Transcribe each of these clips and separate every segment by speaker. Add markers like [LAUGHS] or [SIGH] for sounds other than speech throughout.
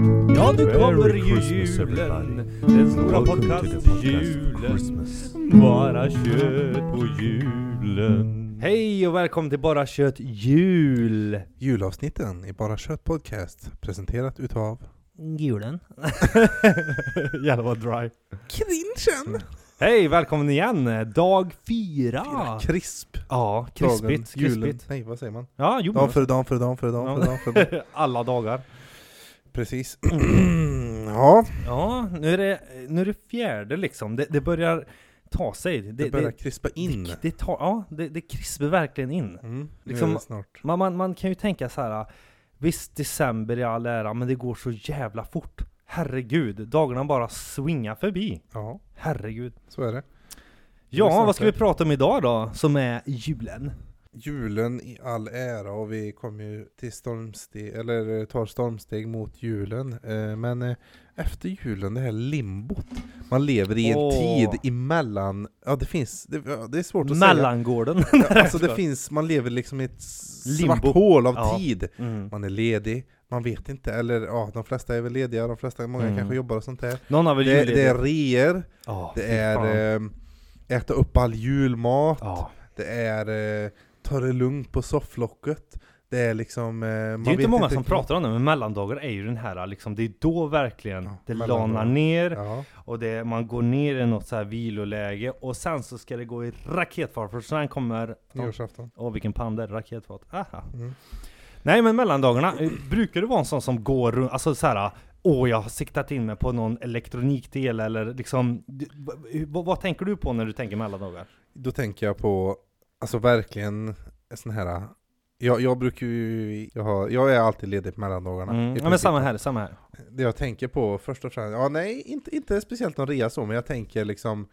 Speaker 1: Ja, nu
Speaker 2: Merry
Speaker 1: kommer ju
Speaker 2: Christmas, everybody.
Speaker 1: julen. Den stora
Speaker 2: Welcome to the podcast,
Speaker 1: podcast-julen.
Speaker 2: Christmas.
Speaker 1: Bara kött på julen. Hej och välkommen till Bara kött jul.
Speaker 3: Julavsnitten i Bara Kött Podcast presenterat utav
Speaker 1: Julen. [LAUGHS] Jävlar vad dry.
Speaker 3: Grinchen!
Speaker 1: Hej, välkommen igen. Dag fyra.
Speaker 3: Krisp.
Speaker 1: Ja,
Speaker 3: Dagen,
Speaker 1: Ah. krispigt.
Speaker 3: julen.
Speaker 1: krispigt. Mm.
Speaker 3: Nej, vad säger man?
Speaker 1: Ja, jo.
Speaker 3: Dag för dag för dag för dag för dag för
Speaker 1: [LAUGHS]
Speaker 3: dag.
Speaker 1: Alla dagar.
Speaker 3: Precis. [CLEARS THROAT] ja,
Speaker 1: Ja, nu är det, nu är det fjärde liksom. Det, det börjar ta sig. Det,
Speaker 3: det börjar krispa in.
Speaker 1: Det, det, tar, ja, det, det krisper verkligen in.
Speaker 3: Mm, nu
Speaker 1: liksom-
Speaker 3: är det snart.
Speaker 1: Man, man, man kan ju tänka så här. Visst, december i all ära, men det går så jävla fort. Herregud, dagarna bara svingar förbi.
Speaker 3: Ja,
Speaker 1: Herregud.
Speaker 3: så är det. Det är
Speaker 1: Ja,
Speaker 3: sant
Speaker 1: vad ska vi
Speaker 3: det.
Speaker 1: prata om idag då, som är julen?
Speaker 3: Julen i all ära och vi kommer ju till stormsteg, eller eh, tar stormsteg mot julen. Eh, Men eh, efter julen, det här limbot. Man lever i en
Speaker 1: Åh.
Speaker 3: tid emellan, ja det finns, det, ja, det är svårt att säga.
Speaker 1: Mellangården. [LAUGHS]
Speaker 3: Ja, alltså det
Speaker 1: Förstår.
Speaker 3: finns, man lever liksom i ett s-
Speaker 1: Limbo.
Speaker 3: svart hål av
Speaker 1: Ja.
Speaker 3: tid.
Speaker 1: Mm.
Speaker 3: Man är ledig, man vet inte, eller ja, de flesta är väl lediga, de flesta, många
Speaker 1: Mm.
Speaker 3: kanske jobbar och sånt där.
Speaker 1: Någon har väl
Speaker 3: Det, det är
Speaker 1: julledigt?
Speaker 3: reor,
Speaker 1: Ja, fy
Speaker 3: det är
Speaker 1: fan.
Speaker 3: ehm, äta upp all julmat,
Speaker 1: Ja.
Speaker 3: det är eh, ta det lugnt på sofflocket, det är liksom... eh, man
Speaker 1: Det är ju inte
Speaker 3: vet
Speaker 1: många som pratar om det, men mellandagar är ju den här liksom, det är då verkligen
Speaker 3: Ja,
Speaker 1: det
Speaker 3: mellandagar.
Speaker 1: lanar ner
Speaker 3: Ja,
Speaker 1: och det, man går ner i något så här viloläge och sen så ska det gå i raketfart för sen kommer...
Speaker 3: nyårsafton.
Speaker 1: Åh vilken pander, raketfart. Aha.
Speaker 3: Mm.
Speaker 1: Nej men mellandagarna, eh, brukar du vara en sån som går runt, alltså så här. Åh, jag har siktat in mig på någon elektronikdel eller liksom... d- v- Vad, vad tänker du på när du tänker mellandagar?
Speaker 3: Då tänker jag på, alltså verkligen, sån här... Jag, jag brukar ju, jag, har, jag är alltid ledig på mellandagarna. i
Speaker 1: Mm. Ja men
Speaker 3: princip.
Speaker 1: samma här, samma här.
Speaker 3: Det jag tänker på först och främst, ja nej inte, inte speciellt någon rea så, men jag tänker liksom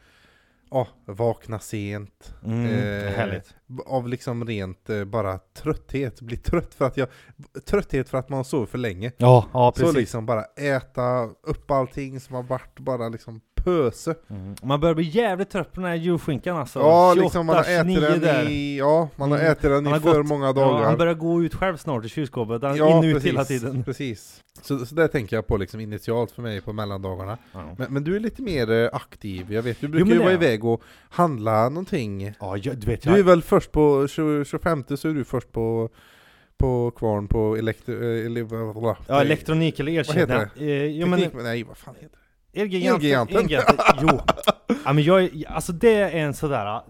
Speaker 3: Ja, vakna sent
Speaker 1: Mm.
Speaker 3: Eh,
Speaker 1: Härligt.
Speaker 3: b- av liksom rent eh, bara trötthet, bli trött för att jag b- Trötthet för att man sover för länge
Speaker 1: Ja, ja
Speaker 3: Så
Speaker 1: precis.
Speaker 3: liksom bara äta upp allting som har varit bara liksom pöse
Speaker 1: Mm. Man börjar bli jävligt trött på den här julskinkan alltså.
Speaker 3: Ja liksom man har
Speaker 1: 29
Speaker 3: ätit den
Speaker 1: där.
Speaker 3: i, ja, man har
Speaker 1: Mm.
Speaker 3: ätit den
Speaker 1: Han
Speaker 3: i
Speaker 1: har
Speaker 3: för
Speaker 1: gått-
Speaker 3: många
Speaker 1: Ja,
Speaker 3: dagar
Speaker 1: han börjar gå ut själv snart i kylskåpet. Han
Speaker 3: Ja,
Speaker 1: är inuti hela tiden.
Speaker 3: precis så, så det tänker jag på liksom initialt för mig på mellandagarna
Speaker 1: Ja.
Speaker 3: Men, men du är lite mer eh, aktiv, jag vet. Du brukar
Speaker 1: men
Speaker 3: ju
Speaker 1: det
Speaker 3: vara
Speaker 1: är jag.
Speaker 3: iväg och handla någonting.
Speaker 1: Ja, jag, du vet
Speaker 3: Du är
Speaker 1: jag...
Speaker 3: väl först på 20, 25 så är du först på, på kvarn på elektro... eh, ele- vad- vad-
Speaker 1: Ja, elektronik eller elkedja.
Speaker 3: Vad
Speaker 1: det?
Speaker 3: heter
Speaker 1: Eh, jo, men,
Speaker 3: Teknik, men, nej, vad fan heter det?
Speaker 1: Elgiganten.
Speaker 3: Elgiganten. [LAUGHS]
Speaker 1: Elgiganten. jo. Ja, men jag, är- alltså det är en sådär...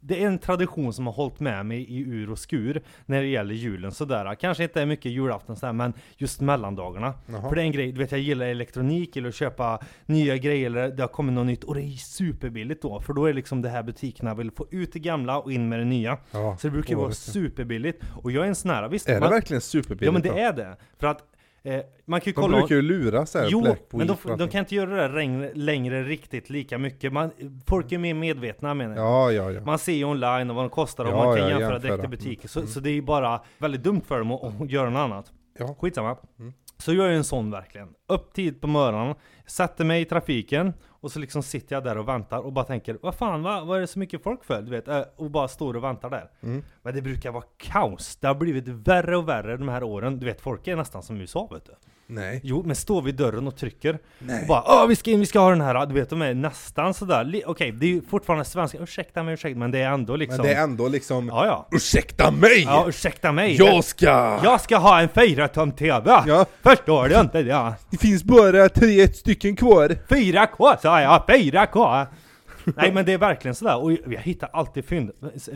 Speaker 1: Det är en tradition som har hållit med mig i ur och skur när det gäller julen sådär. Kanske inte mycket julafton sådär, men just mellandagarna.
Speaker 3: Jaha.
Speaker 1: För det är en grej, du vet jag gillar elektronik, gillar att köpa nya grejer, eller det har kommit något nytt och det är superbilligt då. För då är det liksom det här butikerna vill få ut det gamla och in med det nya.
Speaker 3: Ja,
Speaker 1: Så det brukar ju vara
Speaker 3: oavsett.
Speaker 1: superbilligt. Och jag är en sån här, visst.
Speaker 3: Är
Speaker 1: man,
Speaker 3: det verkligen superbilligt?
Speaker 1: Ja men det
Speaker 3: då?
Speaker 1: är det. För att eh, man kan ju
Speaker 3: De
Speaker 1: kolla...
Speaker 3: brukar ju lura såhär
Speaker 1: Jo,
Speaker 3: Black
Speaker 1: men de,
Speaker 3: Week,
Speaker 1: de kan inte göra det där längre, längre riktigt lika mycket. Man, folk är mer medvetna menar jag.
Speaker 3: Ja, ja, ja.
Speaker 1: Man ser ju online och vad de kostar och
Speaker 3: Ja,
Speaker 1: man kan
Speaker 3: ja,
Speaker 1: jämföra, direkt i
Speaker 3: jämföra. Mm.
Speaker 1: butiker. Så, så det är ju bara väldigt dumt för dem att, att göra något annat.
Speaker 3: ja.
Speaker 1: Skitsamma.
Speaker 3: Mm.
Speaker 1: Så jag är en sån verkligen. Upp tid på morgonen, sätter mig i trafiken och så liksom sitter jag där och väntar och bara tänker vad fan va? vad är det så mycket folk för? Du vet, eh, och bara står och väntar där.
Speaker 3: Mm.
Speaker 1: Men det brukar vara kaos. Det har blivit värre och värre de här åren. Du vet folk är nästan som i USA vet du.
Speaker 3: Nej.
Speaker 1: Jo, men står vid dörren och trycker och bara Åh, vi ska in, vi ska ha den här. Du vet, de är nästan sådär. Li- Okej, det är ju fortfarande svenska. Ursäkta mig, ursäkta men det är ändå liksom.
Speaker 3: Men det är ändå liksom
Speaker 1: Ja, ja.
Speaker 3: Ursäkta mig!
Speaker 1: Ja, ursäkta mig.
Speaker 3: jag ska!
Speaker 1: Jag ska ha en 4-tum TV!
Speaker 3: Ja.
Speaker 1: Förstår du inte det?
Speaker 3: Det finns bara tre stycken kvar!
Speaker 1: 4K sa jag! 4K! Nej men det är verkligen sådär, och jag hittar alltid fynd.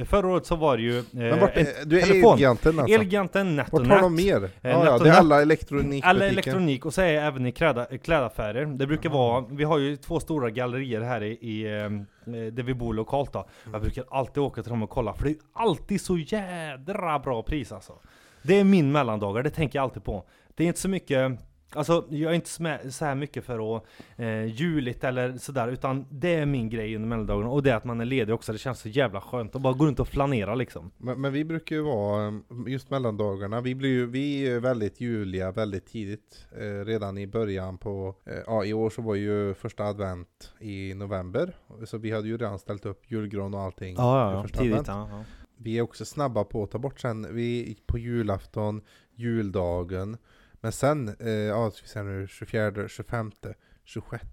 Speaker 1: Förra året så var det ju... Eh,
Speaker 3: Men vart,
Speaker 1: en
Speaker 3: du är
Speaker 1: telefon.
Speaker 3: Elgiganten alltså?
Speaker 1: Elgiganten, Net
Speaker 3: Vart
Speaker 1: och
Speaker 3: har de
Speaker 1: Net.
Speaker 3: mer?
Speaker 1: Eh,
Speaker 3: Ja, ja, det
Speaker 1: Nationell-
Speaker 3: är alla elektronikbutiker.
Speaker 1: Alla elektronik och så är jag även i kläda, eh, klädaffärer. Det brukar vara, vi har ju två stora gallerier här i, i eh, där vi bor lokalt då. Jag brukar alltid åka till dem och kolla för det är alltid så jädra bra pris alltså. Det är min mellandagar, det tänker jag alltid på. Det är inte så mycket Alltså jag är inte så med- så här mycket för att eh, juligt eller sådär utan det är min grej under mellandagarna och det är att man är ledig också, det känns så jävla skönt att bara gå runt och flanera liksom.
Speaker 3: Men, men vi brukar ju vara, um, just mellandagarna, vi blir ju vi är väldigt juliga väldigt tidigt. Eh, redan i början på, eh, ja i år så var ju första advent i november. Så vi hade ju redan ställt upp julgran och allting. för första
Speaker 1: Tidigt,
Speaker 3: advent.
Speaker 1: ja, ja.
Speaker 3: Vi är också snabba på att ta bort sen, vi gick på julafton, juldagen, Men sen, eh, ja, ska vi se nu, 24, 25, 26.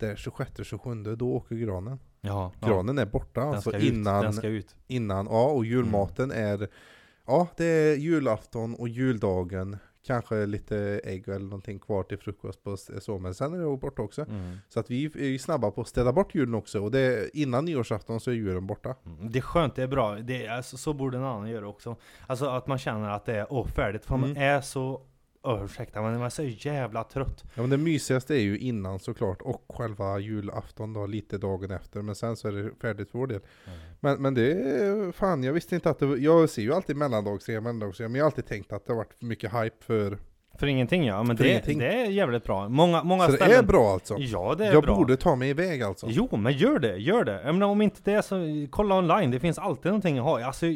Speaker 3: Det 26, 27, då åker granen.
Speaker 1: Ja, ja.
Speaker 3: Granen är borta
Speaker 1: Den
Speaker 3: alltså
Speaker 1: ska ut. Den
Speaker 3: innan,
Speaker 1: ska ut.
Speaker 3: innan, ja
Speaker 1: Mm.
Speaker 3: och julmaten är, ja det är julafton och juldagen. Kanske lite ägg eller någonting kvar till frukost på s- så, men sen är det borta också.
Speaker 1: Mm.
Speaker 3: Så att vi är ju snabba på att städa bort julen också och det, innan nyårsafton så är julen borta.
Speaker 1: Mm, Det är skönt, det är bra. Det är, alltså, så borde en annan göra också. Alltså att man känner att det är åh, färdigt, för man
Speaker 3: Mm.
Speaker 1: är så, oh, ursäkta men man är så jävla trött.
Speaker 3: Ja men det mysigaste är ju innan såklart och själva julafton då, lite dagen efter. Men sen så är det färdigt för vår del.
Speaker 1: Mm.
Speaker 3: Men, men det är fan, jag visste inte att det var- Jag ser ju alltid mellandagsrea, mellandagsrea, men jag har alltid tänkt att det har varit för mycket hype för...
Speaker 1: För ingenting ja, men
Speaker 3: För
Speaker 1: det,
Speaker 3: ingenting.
Speaker 1: det är jävligt bra. Många, många
Speaker 3: så det är
Speaker 1: ställen...
Speaker 3: bra alltså.
Speaker 1: Ja det är
Speaker 3: Jag
Speaker 1: bra.
Speaker 3: borde ta mig iväg alltså.
Speaker 1: Jo men gör det, gör det. Jag menar, om inte det så kolla online, det finns alltid någonting att ha. Alltså,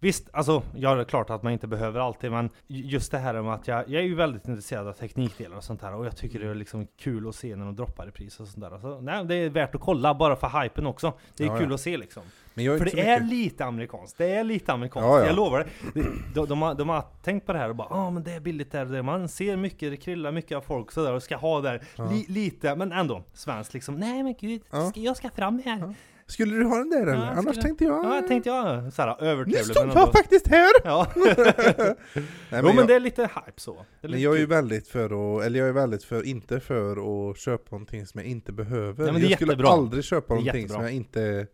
Speaker 1: visst, alltså, ja det är klart att man inte behöver alltid men ju- just det här med att jag, jag är ju väldigt intresserad av teknikdelar och sånt här och jag tycker det är liksom kul att se när de droppar i pris och sånt där. Alltså, nej, det är värt att kolla bara för hypen också. Det är
Speaker 3: Ja,
Speaker 1: kul
Speaker 3: ja.
Speaker 1: att se liksom.
Speaker 3: Men jag är
Speaker 1: För
Speaker 3: inte
Speaker 1: det
Speaker 3: så
Speaker 1: är
Speaker 3: mycket...
Speaker 1: lite amerikanskt, det är lite amerikanskt,
Speaker 3: Ja, ja.
Speaker 1: jag lovar det. Det- De, de, har, de har tänkt på det här och bara ah, men det är billigt där och där. Man ser mycket, det kryllar mycket av folk sådär och ska ha där. Li, lite, men ändå svenskt liksom. Nej men gud,
Speaker 3: Ja.
Speaker 1: ska, jag ska fram här. Ja,
Speaker 3: Skulle du ha den där eller?
Speaker 1: Ja,
Speaker 3: Annars
Speaker 1: skulle-
Speaker 3: tänkte jag...
Speaker 1: jag tänkte jag såhär
Speaker 3: nu
Speaker 1: övertrevlig
Speaker 3: står
Speaker 1: men
Speaker 3: jag
Speaker 1: ändå. [LAUGHS]
Speaker 3: faktiskt här!
Speaker 1: Ja,
Speaker 3: [LAUGHS] Nej,
Speaker 1: jo men
Speaker 3: jag-
Speaker 1: det är lite hype så. Det är
Speaker 3: Men
Speaker 1: lite
Speaker 3: jag är ju
Speaker 1: kul.
Speaker 3: väldigt för att, eller jag är väldigt för, inte för att köpa någonting som jag inte behöver.
Speaker 1: Nej, men det är
Speaker 3: jag skulle
Speaker 1: jättebra.
Speaker 3: aldrig köpa
Speaker 1: Det är
Speaker 3: någonting som
Speaker 1: jättebra.
Speaker 3: jag inte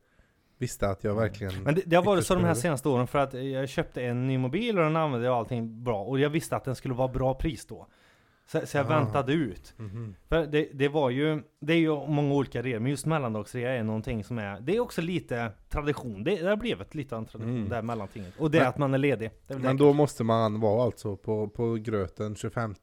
Speaker 3: visste att jag verkligen...
Speaker 1: Men det, det har varit så de här
Speaker 3: Ytterst
Speaker 1: senaste åren för att eh, jag köpte en ny mobil och den använde jag och allting bra och jag visste att den skulle vara bra pris då. Så, så jag
Speaker 3: Ah.
Speaker 1: väntade ut.
Speaker 3: Mhm.
Speaker 1: För det, det var ju, det är ju många olika reor, men just mellandagsrea är någonting som är, det är också lite tradition. Det, det har blivit lite av en tradition,
Speaker 3: Mm.
Speaker 1: det här mellantinget. Och det är
Speaker 3: Men-
Speaker 1: att man är ledig. Det är väl
Speaker 3: Men
Speaker 1: det.
Speaker 3: då måste man vara alltså på, på gröten 25.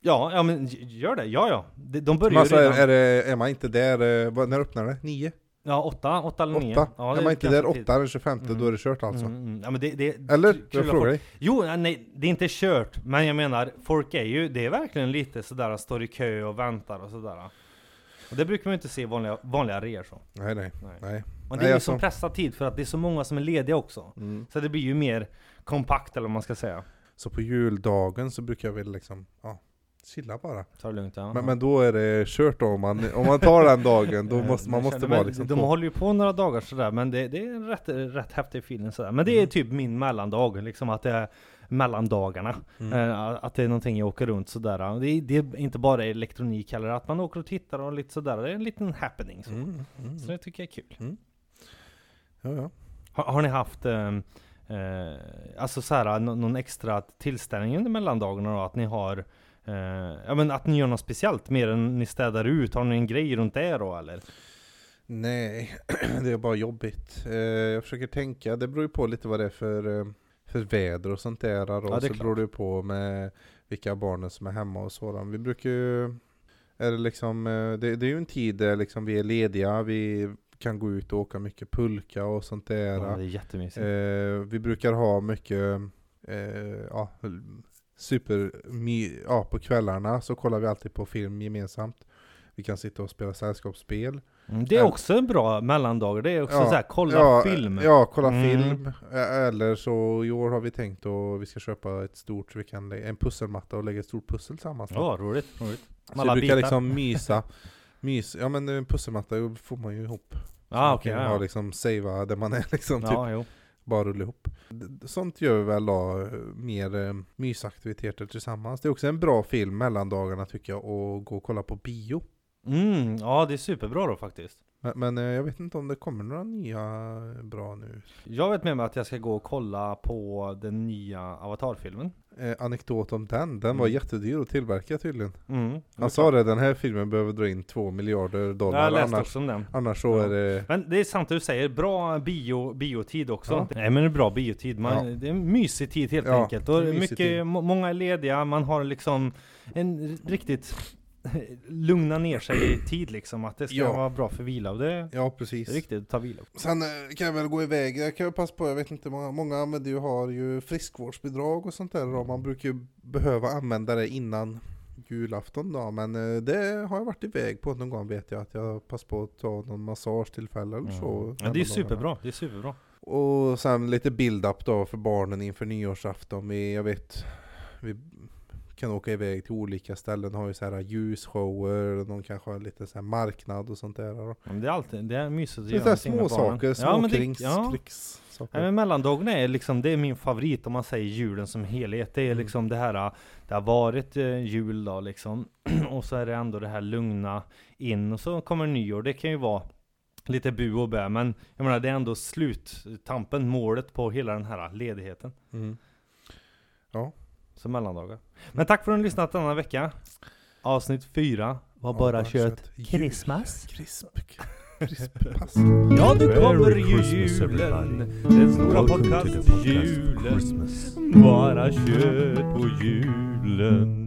Speaker 1: Ja, ja men g- gör det, ja ja. De, de börjar
Speaker 3: Men alltså
Speaker 1: ju
Speaker 3: är,
Speaker 1: redan,
Speaker 3: är, det, är man inte där, eh, vad- när öppnar det? 9?
Speaker 1: ja åtta, åtta eller
Speaker 3: 8?
Speaker 1: nio. Ja,
Speaker 3: är man inte där
Speaker 1: ganska tidigt.
Speaker 3: 8 den 25 då är det kört alltså.
Speaker 1: Mm, mm. Ja, men det, det,
Speaker 3: Eller?
Speaker 1: kul
Speaker 3: Jag
Speaker 1: att
Speaker 3: frågar
Speaker 1: folk-
Speaker 3: dig.
Speaker 1: Jo, ja, nej, det är inte kört, men jag menar, folk är ju, det är verkligen lite sådär, står i kö och väntar och sådär. Och det brukar man ju inte se i vanliga, vanliga reor så.
Speaker 3: Nej nej.
Speaker 1: Nej.
Speaker 3: nej.
Speaker 1: Men det
Speaker 3: Nej,
Speaker 1: är ju
Speaker 3: alltså-
Speaker 1: som pressad tid för att det är så många som är lediga också.
Speaker 3: Mm.
Speaker 1: Så det blir ju mer kompakt eller vad man ska säga.
Speaker 3: Så på juldagen så brukar jag väl liksom, ja, chilla bara.
Speaker 1: Ta det lugnt ja.
Speaker 3: Men, men då är det kört då, om man, om man tar den
Speaker 1: [LAUGHS]
Speaker 3: dagen, då
Speaker 1: Eh,
Speaker 3: måste man
Speaker 1: men
Speaker 3: måste
Speaker 1: känner
Speaker 3: vara
Speaker 1: väl-
Speaker 3: liksom
Speaker 1: De
Speaker 3: på.
Speaker 1: håller ju på några dagar sådär, men det, det är en rätt, rätt häftig feeling sådär. Men det är
Speaker 3: Mm.
Speaker 1: typ min mellandag, liksom att det är mellandagarna.
Speaker 3: Mm.
Speaker 1: Eh, Att det är någonting jag åker runt sådär. Det, är- det är inte bara elektronik heller, att man åker och tittar och lite sådär. Det är en liten happening. Så,
Speaker 3: Mm, mm.
Speaker 1: så det tycker jag är kul.
Speaker 3: Ja, ja.
Speaker 1: Har, har ni haft eh, eh, alltså så här, nå- någon extra tillställning under mellandagarna då? Att ni har eh, Ja men att ni gör något speciellt mer än ni städar ut? Har ni en grej runt det då eller?
Speaker 3: Nej, [CLEARS THROAT] det är bara jobbigt. Eh, Jag försöker tänka, det beror ju på lite vad det är för, eh, för väder och sånt där. Och
Speaker 1: Ja, det är
Speaker 3: så
Speaker 1: klart.
Speaker 3: beror det ju på med vilka barnen som är hemma och sådant. Vi brukar ju, är det, liksom, eh, det, det är ju en tid där liksom vi är lediga, vi kan gå ut och åka mycket pulka och sånt där.
Speaker 1: Ja, det är jättemysigt.
Speaker 3: Eh, vi brukar ha mycket, eh, ja, super, my, ja, på kvällarna så kollar vi alltid på film gemensamt. Vi kan sitta och spela sällskapsspel.
Speaker 1: Mm, Det är också en bra mellandagar, det är också
Speaker 3: Ja,
Speaker 1: så här, kolla
Speaker 3: ja,
Speaker 1: film.
Speaker 3: Ja, kolla
Speaker 1: Mm.
Speaker 3: film. Eh, Eller så i år har vi tänkt att vi ska köpa ett stort, så vi kan lägga, en pusselmatta och lägga ett stort pussel tillsammans. då.
Speaker 1: Ja, roligt. roligt.
Speaker 3: så vi
Speaker 1: alla
Speaker 3: brukar
Speaker 1: bitar. [LAUGHS]
Speaker 3: liksom mysa. Mys, ja men en pusselmatta får man ju ihop. Så
Speaker 1: Ah,
Speaker 3: man
Speaker 1: okej.
Speaker 3: kan ju
Speaker 1: ja,
Speaker 3: ha
Speaker 1: ja.
Speaker 3: liksom savea där man är liksom, typ
Speaker 1: ja, jo.
Speaker 3: bara rulla ihop. D- d- Sånt gör vi väl då, eh, mer eh, mysaktiviteter tillsammans. Det är också en bra film mellan dagarna tycker jag, att gå och kolla på bio.
Speaker 1: Mm, ja, det är superbra då faktiskt.
Speaker 3: Men, men eh, jag vet inte om det kommer några nya eh, bra nu.
Speaker 1: Jag vet med mig att jag ska gå och kolla på den nya Avatar-filmen.
Speaker 3: Eh, anekdot om den, den var
Speaker 1: Mm.
Speaker 3: jättedyr att tillverka tydligen.
Speaker 1: Mm.
Speaker 3: Han sa det, den här filmen behöver dra in två miljarder dollar
Speaker 1: Jag läste
Speaker 3: annars,
Speaker 1: också om den.
Speaker 3: annars så
Speaker 1: Ja.
Speaker 3: är det...
Speaker 1: Men det är sant det du säger, bra bio, biotid också.
Speaker 3: Ja.
Speaker 1: Nej men det är bra biotid, man,
Speaker 3: Ja.
Speaker 1: det är en mysig tid helt
Speaker 3: Ja,
Speaker 1: enkelt. Och
Speaker 3: det är en mysig tid.
Speaker 1: mycket, må- många är lediga, man har liksom en r- riktigt lugna ner sig i tid liksom. Att det ska
Speaker 3: Ja.
Speaker 1: vara bra för vila och det
Speaker 3: Ja
Speaker 1: det
Speaker 3: precis.
Speaker 1: är viktigt att ta vila.
Speaker 3: Sen eh, kan jag väl gå iväg, jag kan väl passa på, jag vet inte, många, många använder ju, har ju friskvårdsbidrag och sånt där då. Man brukar ju behöva använda det innan julafton då, men eh, det har jag varit iväg på någon gång vet jag att jag passar på att ta någon massagetillfälle eller så.
Speaker 1: Mm. Ja, det är
Speaker 3: mellan
Speaker 1: ju
Speaker 3: dagarna.
Speaker 1: superbra, det är superbra.
Speaker 3: Och sen lite build-up då för barnen inför nyårsafton. Vi, jag vet, vi kan åka iväg till olika ställen, har ju så här ljusshower, och någon kanske har lite så här marknad och sånt där. då.
Speaker 1: Men det är alltid, det är mysigt att
Speaker 3: Så det är
Speaker 1: göra
Speaker 3: så här
Speaker 1: någonting med barnen.
Speaker 3: små saker, små
Speaker 1: Ja, men det-
Speaker 3: krings,
Speaker 1: ja.
Speaker 3: kricks, saker.
Speaker 1: Nej, men mellandagarna är liksom, det är min favorit om man säger julen som helhet. Det är liksom det här, äh, det har varit eh, jul då liksom. [CLEARS THROAT] och så är det ändå det här lugna in och så kommer nyår. Det kan ju vara lite bu och bä, men jag menar det är ändå sluttampen, målet på hela den här äh, ledigheten.
Speaker 3: Mm.
Speaker 1: Så mellandagar. Men tack för att ni har lyssnat denna vecka. Avsnitt fyra var
Speaker 3: Ja,
Speaker 1: bara kött.
Speaker 3: Jul.
Speaker 1: Christmas.
Speaker 3: [LAUGHS] Crisp. Crisp. Pass.
Speaker 1: Ja, nu kommer
Speaker 2: Merry
Speaker 1: ju
Speaker 2: Christmas,
Speaker 1: julen.
Speaker 2: everybody.
Speaker 1: Den stora
Speaker 2: Welcome to the podcast
Speaker 1: podcast-julen.
Speaker 2: Christmas.
Speaker 1: Bara kött på julen.